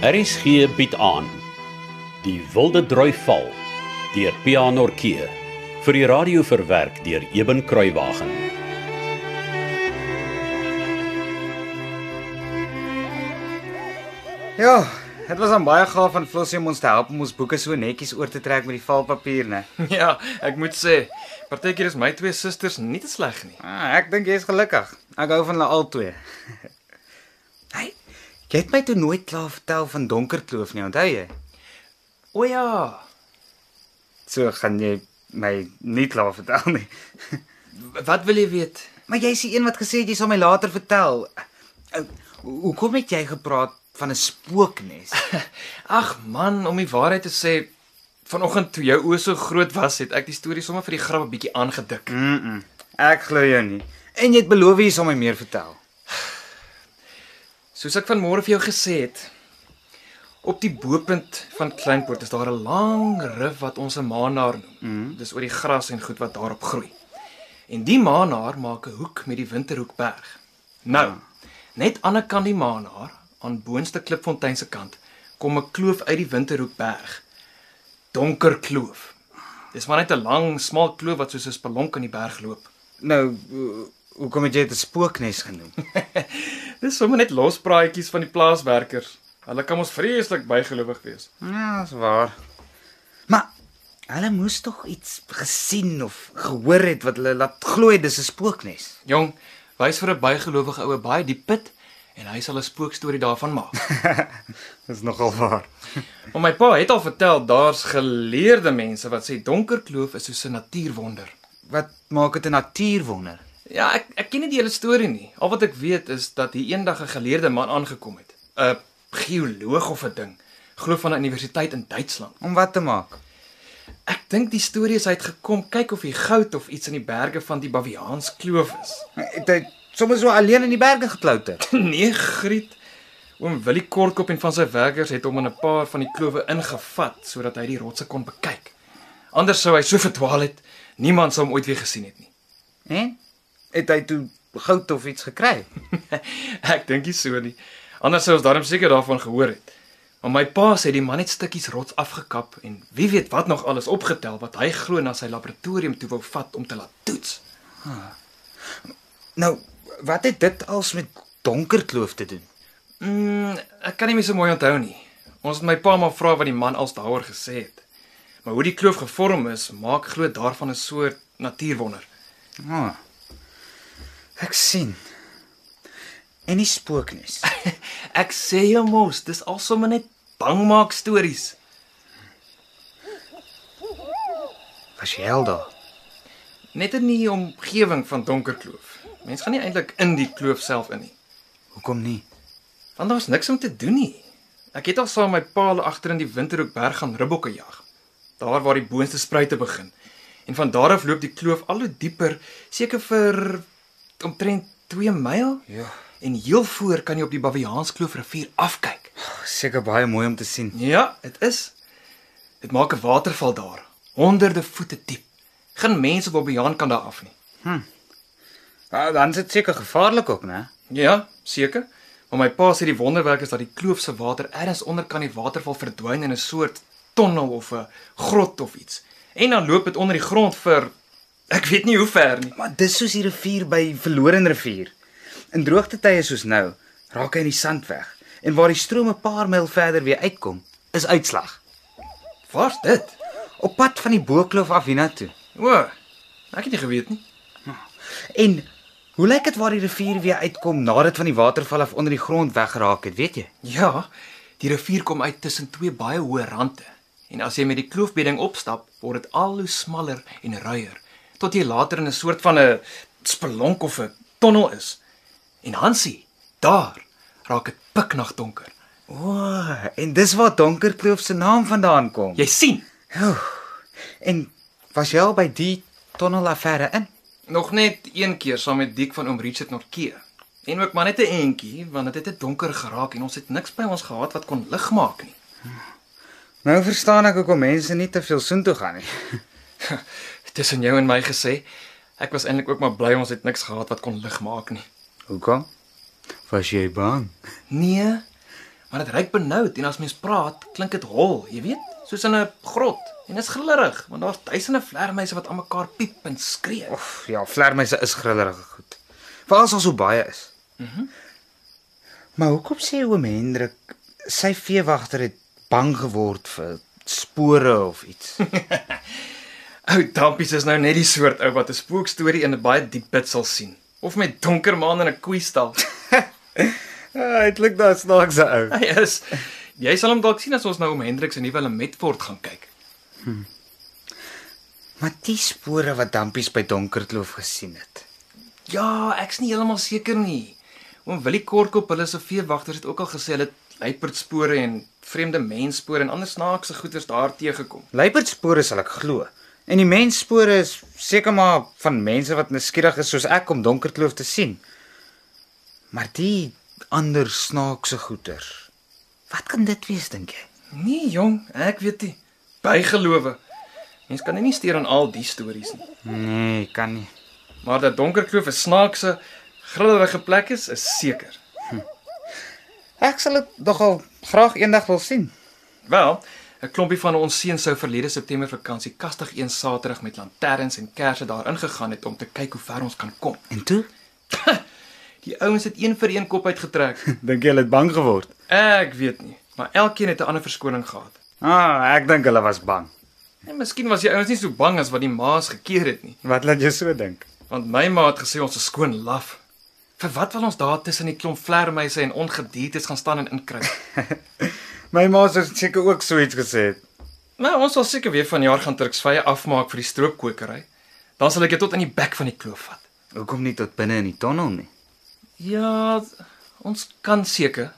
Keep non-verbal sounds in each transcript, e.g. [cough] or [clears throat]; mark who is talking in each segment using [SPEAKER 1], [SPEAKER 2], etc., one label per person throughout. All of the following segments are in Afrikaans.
[SPEAKER 1] RSG bied aan Die Wilde Droi Val deur Pianorkee vir die radio verwerk deur Eben Kruiwagen.
[SPEAKER 2] Ja, dit was dan baie gaaf van Flossie om ons te help om ons boeke so netjies oor te trek met die valpapier, né?
[SPEAKER 3] [laughs] Ja, ek moet sê, partykeer is my twee susters nie te sleg nie.
[SPEAKER 2] Ah, ek dink jy's gelukkig. Ek hou van hulle albei. [laughs] hey, jy het my toe nooit klaar vertel van Donkerkloof nie, onthou jy?
[SPEAKER 3] O ja,
[SPEAKER 2] So gaan jy my nie klaar vertel nie.
[SPEAKER 3] wat wil jy weet? [laughs]
[SPEAKER 2] Maar jy's die een wat gesê het jy sal my later vertel. Ou, Hoekom het jy gepraat van 'n spooknes?
[SPEAKER 3] Ag man, om die waarheid te sê, vanoggend toe jou oë so groot was, het ek die storie sommer vir die grap 'n bietjie aangedik.
[SPEAKER 2] Mm. -mm, ek glo jou nie. En jy het beloof jy sal my meer vertel.
[SPEAKER 3] Soos ek vanmôre vir jou gesê het, op die bopunt van Kleinpoort is daar 'n lang rif wat ons 'n maanaar noem. Mm. Dis oor die gras en goed wat daarop groei. En die maanaar maak 'n hoek met die Winterhoekberg. Nou, net aan die kant die maanaar, aan boonste Klipfontein se kant, kom 'n kloof uit die Winterhoekberg. Donker kloof. Dis maar net 'n lang, smal kloof wat soos 'n spelonk in die berg loop.
[SPEAKER 2] Nou, ho- hoekom het jy dit 'n spooknes genoem?
[SPEAKER 3] [laughs] Dis sommer net lospraatjies van die plaaswerkers. Hulle kan ons vreeslik bygelowig wees.
[SPEAKER 2] Ja, dis waar. Maar hulle moes tog iets gesien of gehoor het wat hulle laat glo dis 'n spooknes.
[SPEAKER 3] Jong, wys vir 'n bygelowige oue baie diep put en hy sal 'n spookstorie daarvan maak.
[SPEAKER 2] Dis nogal waar.
[SPEAKER 3] [laughs] Maar my pa het al vertel daar's geleerde mense wat sê donker kloof is soos 'n natuurwonder.
[SPEAKER 2] Wat maak dit 'n natuurwonder?
[SPEAKER 3] Ja, ek ek ken nie die hele storie nie. Al wat ek weet is dat hier eendag 'n geleerde man aangekom het. 'n Geoloog of 'n ding, glo van 'n universiteit in Duitsland.
[SPEAKER 2] Om wat te maak?
[SPEAKER 3] Ek dink die storie is hy het gekom kyk of hier goud of iets in die berge van die Baviaans kloof is.
[SPEAKER 2] Het hy sommer so alleen in die berge geklouter?
[SPEAKER 3] [clears throat] Nee, Griet. Oom Willie Kortkop en van sy werkers het hom in 'n paar van die klowe ingevat sodat hy die rotse kon bekyk. Anders sou hy so verdwaal het, niemand sou hom ooit weer gesien het nie. [laughs]
[SPEAKER 2] Hè? Het hy toe goud of iets gekry?
[SPEAKER 3] Ek dink nie so nie. Anders sou ons darm seker daarvan gehoor het. Maar my pa sê die man het stukkies rots afgekap en wie weet wat nog alles opgetel wat hy glo na sy laboratorium toe wou vat om te laat toets.
[SPEAKER 2] Nou, wat het dit als met donkerkloof te doen?
[SPEAKER 3] Mm, ek kan nie meer so mooi onthou nie. Ons het my pa maar vra wat die man als daaroor gesê het. Maar hoe die kloof gevorm is, maak glo daarvan 'n soort natuurwonder. [laughs]
[SPEAKER 2] Ah. Ek sien. En die spooknes.
[SPEAKER 3] Ek sê jou mos, dis al sommer net bangmaak stories.
[SPEAKER 2] Was jy al daar?
[SPEAKER 3] Net in die omgewing van donker kloof. Mense gaan nie eintlik in die kloof self in nie,
[SPEAKER 2] Hoekom nie?
[SPEAKER 3] want daar's niks om te doen nie. Ek het al saam met my pa hulle agter in die Winterhoekberg gaan ribbokke jag. Daar waar die boonste spruite begin. En van daar af loop die kloof al hoe dieper, seker vir omtrent 2 myl.
[SPEAKER 2] Ja.
[SPEAKER 3] En heel voor kan jy op die Baviaanskloof rivier afkyk.
[SPEAKER 2] Seker baie mooi om te sien.
[SPEAKER 3] Ja, dit is. Dit maak 'n waterval daar, honderde voete diep. Geen mens op Babiaan kan daar af nie.
[SPEAKER 2] Ah, dan is dit seker gevaarlik ook, né?
[SPEAKER 3] Ja, seker. Maar my pa sê die wonderwerk is dat die kloof se water ergens onder kan die waterval verdwyn in 'n soort tonnel of 'n grot of iets. En dan loop dit onder die grond vir ek weet nie hoe ver nie.
[SPEAKER 2] Maar dis soos die rivier by Verloren rivier. In droogte tye soos nou, raak hy in die sand weg en waar die strome 'n paar myl verder weer uitkom, is uitslag.
[SPEAKER 3] Waar's dit?
[SPEAKER 2] Op pad van die Bokloof af hiernatoe.
[SPEAKER 3] O, ek het nie geweet nie.
[SPEAKER 2] En hoe lyk dit waar die rivier weer uitkom nadat van die waterval af onder die grond weggeraak het, weet jy?
[SPEAKER 3] Ja, die rivier kom uit tussen twee baie hoë rande. En as jy met die kloofbedding opstap, word dit al hoe smaller en ruier tot jy later in 'n soort van 'n spelonk of 'n tonnel is. En Hansie, daar raak dit piknag donker.
[SPEAKER 2] O, oh, en dis waar Donkerkloof se naam vandaan kom.
[SPEAKER 3] Jy sien,
[SPEAKER 2] Ja. En was jy al by die tonnelaffære in?
[SPEAKER 3] nog net een keer saam met Diek van oom Richard Norkee. En ook maar net 'n eentjie, want dit het te donker geraak en ons het niks by ons gehad wat kon lig maak nie. [laughs]
[SPEAKER 2] Nou verstaan ek hoekom mense nie te veel soontoe gaan nie.
[SPEAKER 3] Tussen jou en my gesê, ek was eintlik ook maar bly ons het niks gehad wat kon lig maak nie.
[SPEAKER 2] Hoekom? Was jy bang?
[SPEAKER 3] Nee, Maar dit ruik benoud en as mens praat, klink dit hol, jy weet, soos in 'n grot. En dit is grillerig, want daar's duisende vlermuise wat aan mekaar piep en skree.
[SPEAKER 2] Of ja, vlermuise is grillerige goed. Veral as daar so baie is. Mhm. maar hoekom sê oom Hendrik sy veewagter het bang geword vir spore of [laughs] iets?
[SPEAKER 3] Ou Dampies is nou net die soort ou wat 'n spookstorie in 'n baie diep put sal sien, of met donker maan in 'n koeistal. [laughs]
[SPEAKER 2] Uitlik Ja, daar snaakse ou.
[SPEAKER 3] Hy is jy sal hom dalk sien as ons nou om Hendrik se nuwe Lemetfort gaan kyk.
[SPEAKER 2] Maar die spore wat Dampies by Donkerkloof gesien het.
[SPEAKER 3] Ja, ek's nie heeltemal seker nie. Oom Willie Korkop, hulle se veewagters het ook al gesê hulle het luiperdspore en vreemde mensspore en ander snaakse goeters daar teëgekom.
[SPEAKER 2] Luiperdspore sal ek glo. En die mensspore is seker maar van mense wat nuuskierig is soos ek om Donkerkloof te sien. Maar die ander snaakse goeter. Wat kan dit wees dink jy?
[SPEAKER 3] Nee, jong, ek weet nie. Bygelowe. Mens kan nie steur aan al die stories nie.
[SPEAKER 2] Nee, kan nie.
[SPEAKER 3] Maar dat Donkerkloof 'n snaakse, grillerige plek is, is seker.
[SPEAKER 2] Ek sal dit nogal graag eendag wil sien.
[SPEAKER 3] Wel, 'n klompie van ons seuns sou verlede September vakansie kastig een Saterdag met lanterns en kersse daar ingegaan het om te kyk hoe ver ons kan kom.
[SPEAKER 2] En toe?
[SPEAKER 3] Die ouens het een vir een kop uitgetrek.
[SPEAKER 2] [laughs] Dink jy hulle het bang geword?
[SPEAKER 3] Ek weet nie, maar elkeen het 'n ander verskoning gehad.
[SPEAKER 2] Ah, ek dink hulle was bang.
[SPEAKER 3] En miskien was die ouens nie so bang as wat die ma's gekeer het nie,
[SPEAKER 2] Wat laat jou so dink?
[SPEAKER 3] want my ma het gesê ons is skoon laf. Vir wat wil ons daar tussen die klomp vlermuise en ongediertes gaan staan en inkruip?
[SPEAKER 2] My ma sou seker ook so iets gesê het.
[SPEAKER 3] Nou, ons sal seker weer vanjaar gaan Turksvye afmaak vir die stroopkokery. Dan sal ek dit tot in die bek van die kloof vat.
[SPEAKER 2] Hoekom nie tot binne in die tonnel nie?
[SPEAKER 3] Ja, ons kan seker.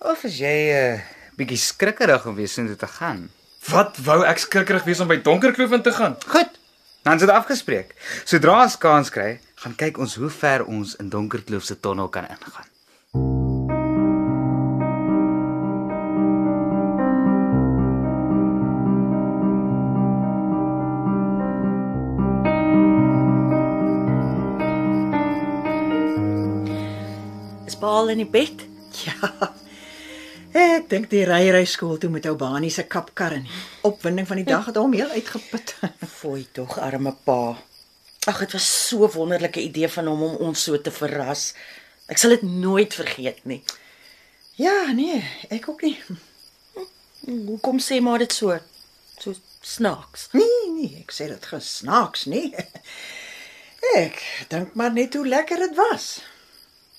[SPEAKER 2] Of as jy 'n uh, bietjie skrikkerig om weer soontoe te gaan.
[SPEAKER 3] Wat wou ek skrikkerig wees om by Donkerkloof in te gaan?
[SPEAKER 2] Goed. Dan is dit afgespreek. Sodra ons kans kry, gaan kyk ons hoe ver ons in Donkerkloof se tonnel kan ingaan.
[SPEAKER 4] Is Paul in die bed?
[SPEAKER 5] Ja. Ek dink die ry ry skool toe met ou Bani se kapkar en die opwinding van die dag het hom heel uitgeput. [laughs]
[SPEAKER 4] Fooi tog, arme pa. Ag, dit was so 'n wonderlike idee van hom om ons so te verras. Ek sal dit nooit vergeet nie.
[SPEAKER 5] Ja, nee, ek ook nie. [laughs]
[SPEAKER 4] Hmm, Hoekom sê maar dit so? So snaaks.
[SPEAKER 5] Nee, nee, ek sê dit gesnaaks, nee. [laughs] Ek dink maar net hoe lekker dit was.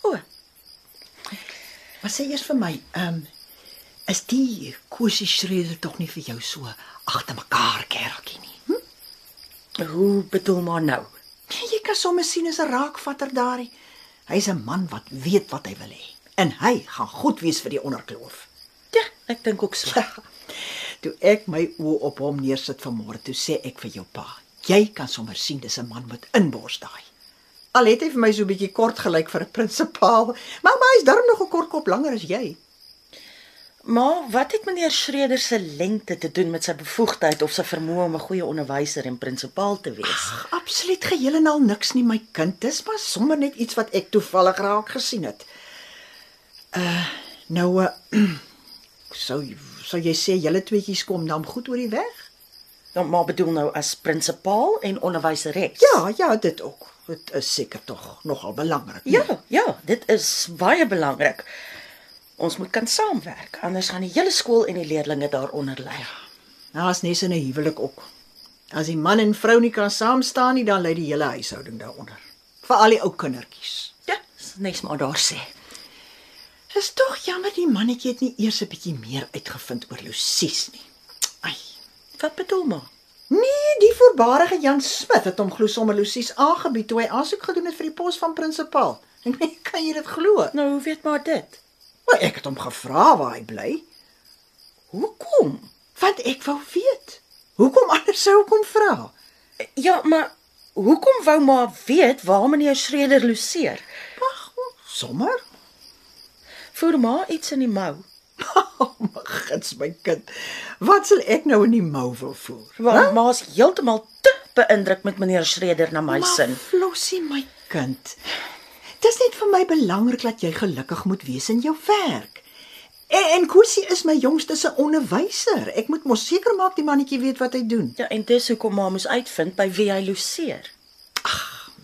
[SPEAKER 4] O,
[SPEAKER 5] Maar sê eers vir my, ehm um, is die Kosie Schreder tog nie vir jou so agter mekaar kereltjie nie? Hm?
[SPEAKER 4] hoe bedoel maar nou?
[SPEAKER 5] Nee, Jy kan sommer sien as 'n raakvatter daai. Hy's 'n man wat weet wat hy wil hê en hy gaan goed wees vir die onderkloof.
[SPEAKER 4] Ja, ek dink ook so.
[SPEAKER 5] Ja. [laughs] Toe ek my oë op hom neersit vanmôre, toe sê ek vir jou pa, jy kan sommer sien dis 'n man met inbors daai. Al het hy vir my so 'n bietjie kort gelyk vir 'n prinsipaal, maar maar hy's darm nog 'n kort kop langer as jy.
[SPEAKER 4] Maar wat het meneer Schreder se lengte te doen met sy bevoegdheid of sy vermoë om 'n goeie onderwyser en prinsipaal te wees?
[SPEAKER 5] Ag, absoluut geheel en al niks nie my kind, dis maar sommer net iets wat ek toevallig raak gesien het. Uh nou uh, [clears throat] sou sou jy sê julle tweetjies kom dan goed oor die weg?
[SPEAKER 4] Dan maar bedoel nou as prinsipaal en onderwyseres.
[SPEAKER 5] Ja, ja, dit ook. Dit is seker tog nogal belangrik. nie?
[SPEAKER 4] Ja, ja, dit is baie belangrik. Ons moet kan saamwerk, anders gaan die hele skool en die leerders daaronder ly.
[SPEAKER 5] Daar's nes Nou in 'n huwelik ook. As die man en vrou nie kan saam staan nie, dan lê die hele huishouding daaronder. Veral die ou kindertjies.
[SPEAKER 4] Ja, dis nes maar daar sê.
[SPEAKER 5] Dis tog jammer die mannetjie het nie eers 'n bietjie meer uitgevind oor Lucies nie. Ai.
[SPEAKER 4] Wat bedoel maar?
[SPEAKER 5] Nee, die voorbarige Jan Smit het hom glo sommer Lucies aangebied toe hy aansoek gedoen het vir die pos van prinsipaal. [laughs] Ek weet, kan jy dit glo?
[SPEAKER 4] Nou, hoe weet maar dit?
[SPEAKER 5] Maar ek het hom gevra waar hy bly,
[SPEAKER 4] Hoekom?
[SPEAKER 5] want ek wou weet. Hoekom anders sou ek hom vra?
[SPEAKER 4] Ja, maar hoekom wou maar weet waar meneer Schreder loseer?
[SPEAKER 5] Wag, sommer.
[SPEAKER 4] Voer maar iets in die mou.
[SPEAKER 5] [laughs] Oh, my gids my kind. Wat sal ek nou in die mou wil voer?
[SPEAKER 4] Want ma's heeltemal te beïndruk met meneer Schreder na my
[SPEAKER 5] Maar
[SPEAKER 4] sin.
[SPEAKER 5] Flossie my kind. Dis net vir my belangrik dat jy gelukkig moet wees in jou werk. En en Kusi is my jongste se onderwyser. Ek moet mos seker maak die mannetjie weet wat hy doen.
[SPEAKER 4] Ja, en dis hoekom ma moes uitvind by wie hy loseer.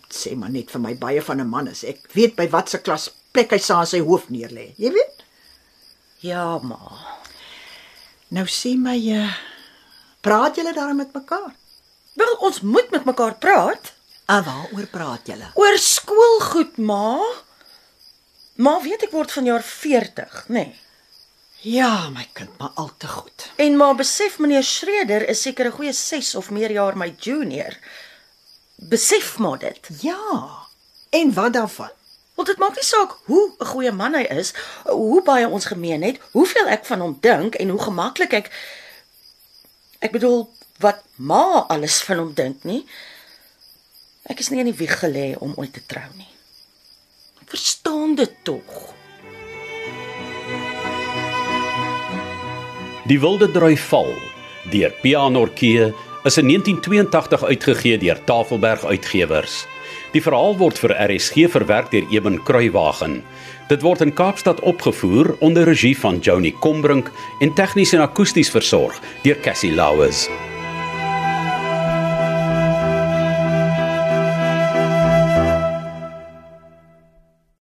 [SPEAKER 5] Sê maar net vir my baie van 'n man is. Ek weet by watter klas plek hy sa sy hoof neerlê. Jy weet?
[SPEAKER 4] Ja, ma.
[SPEAKER 5] Nou sê my uh praat julle daarmee met mekaar?
[SPEAKER 4] Wel, ons moet met mekaar praat
[SPEAKER 5] En Ah, waaroor praat julle?
[SPEAKER 4] oor skoolgoed, ma. Ma weet ek word vanjaar 40, nê. Nee.
[SPEAKER 5] Ja, my kind, maar al te goed.
[SPEAKER 4] En ma besef meneer Schreder is seker 'n goeie 6 of meer jaar my junior. Besef maar dit.
[SPEAKER 5] Ja. En wat daarvan?
[SPEAKER 4] Want dit maak nie saak hoe 'n goeie man hy is, hoe baie ons gemeen het, hoeveel ek van hom dink en hoe gemaklik ek ek bedoel wat ma alles van hom dink nie. Ek is nie in die wieg gelê om ooit te trou nie. Ek verstaan dit tog.
[SPEAKER 1] Die Wilde Drui Val deur Pianorkee is in 1982 uitgegee deur Tafelberg Uitgewers. Die verhaal word vir RSG verwerk deur Eben Kruiwagen. Dit word in Kaapstad opgevoer onder regie van Johnny Combrink en tegnies en akoesties versorg deur Cassie Lauers.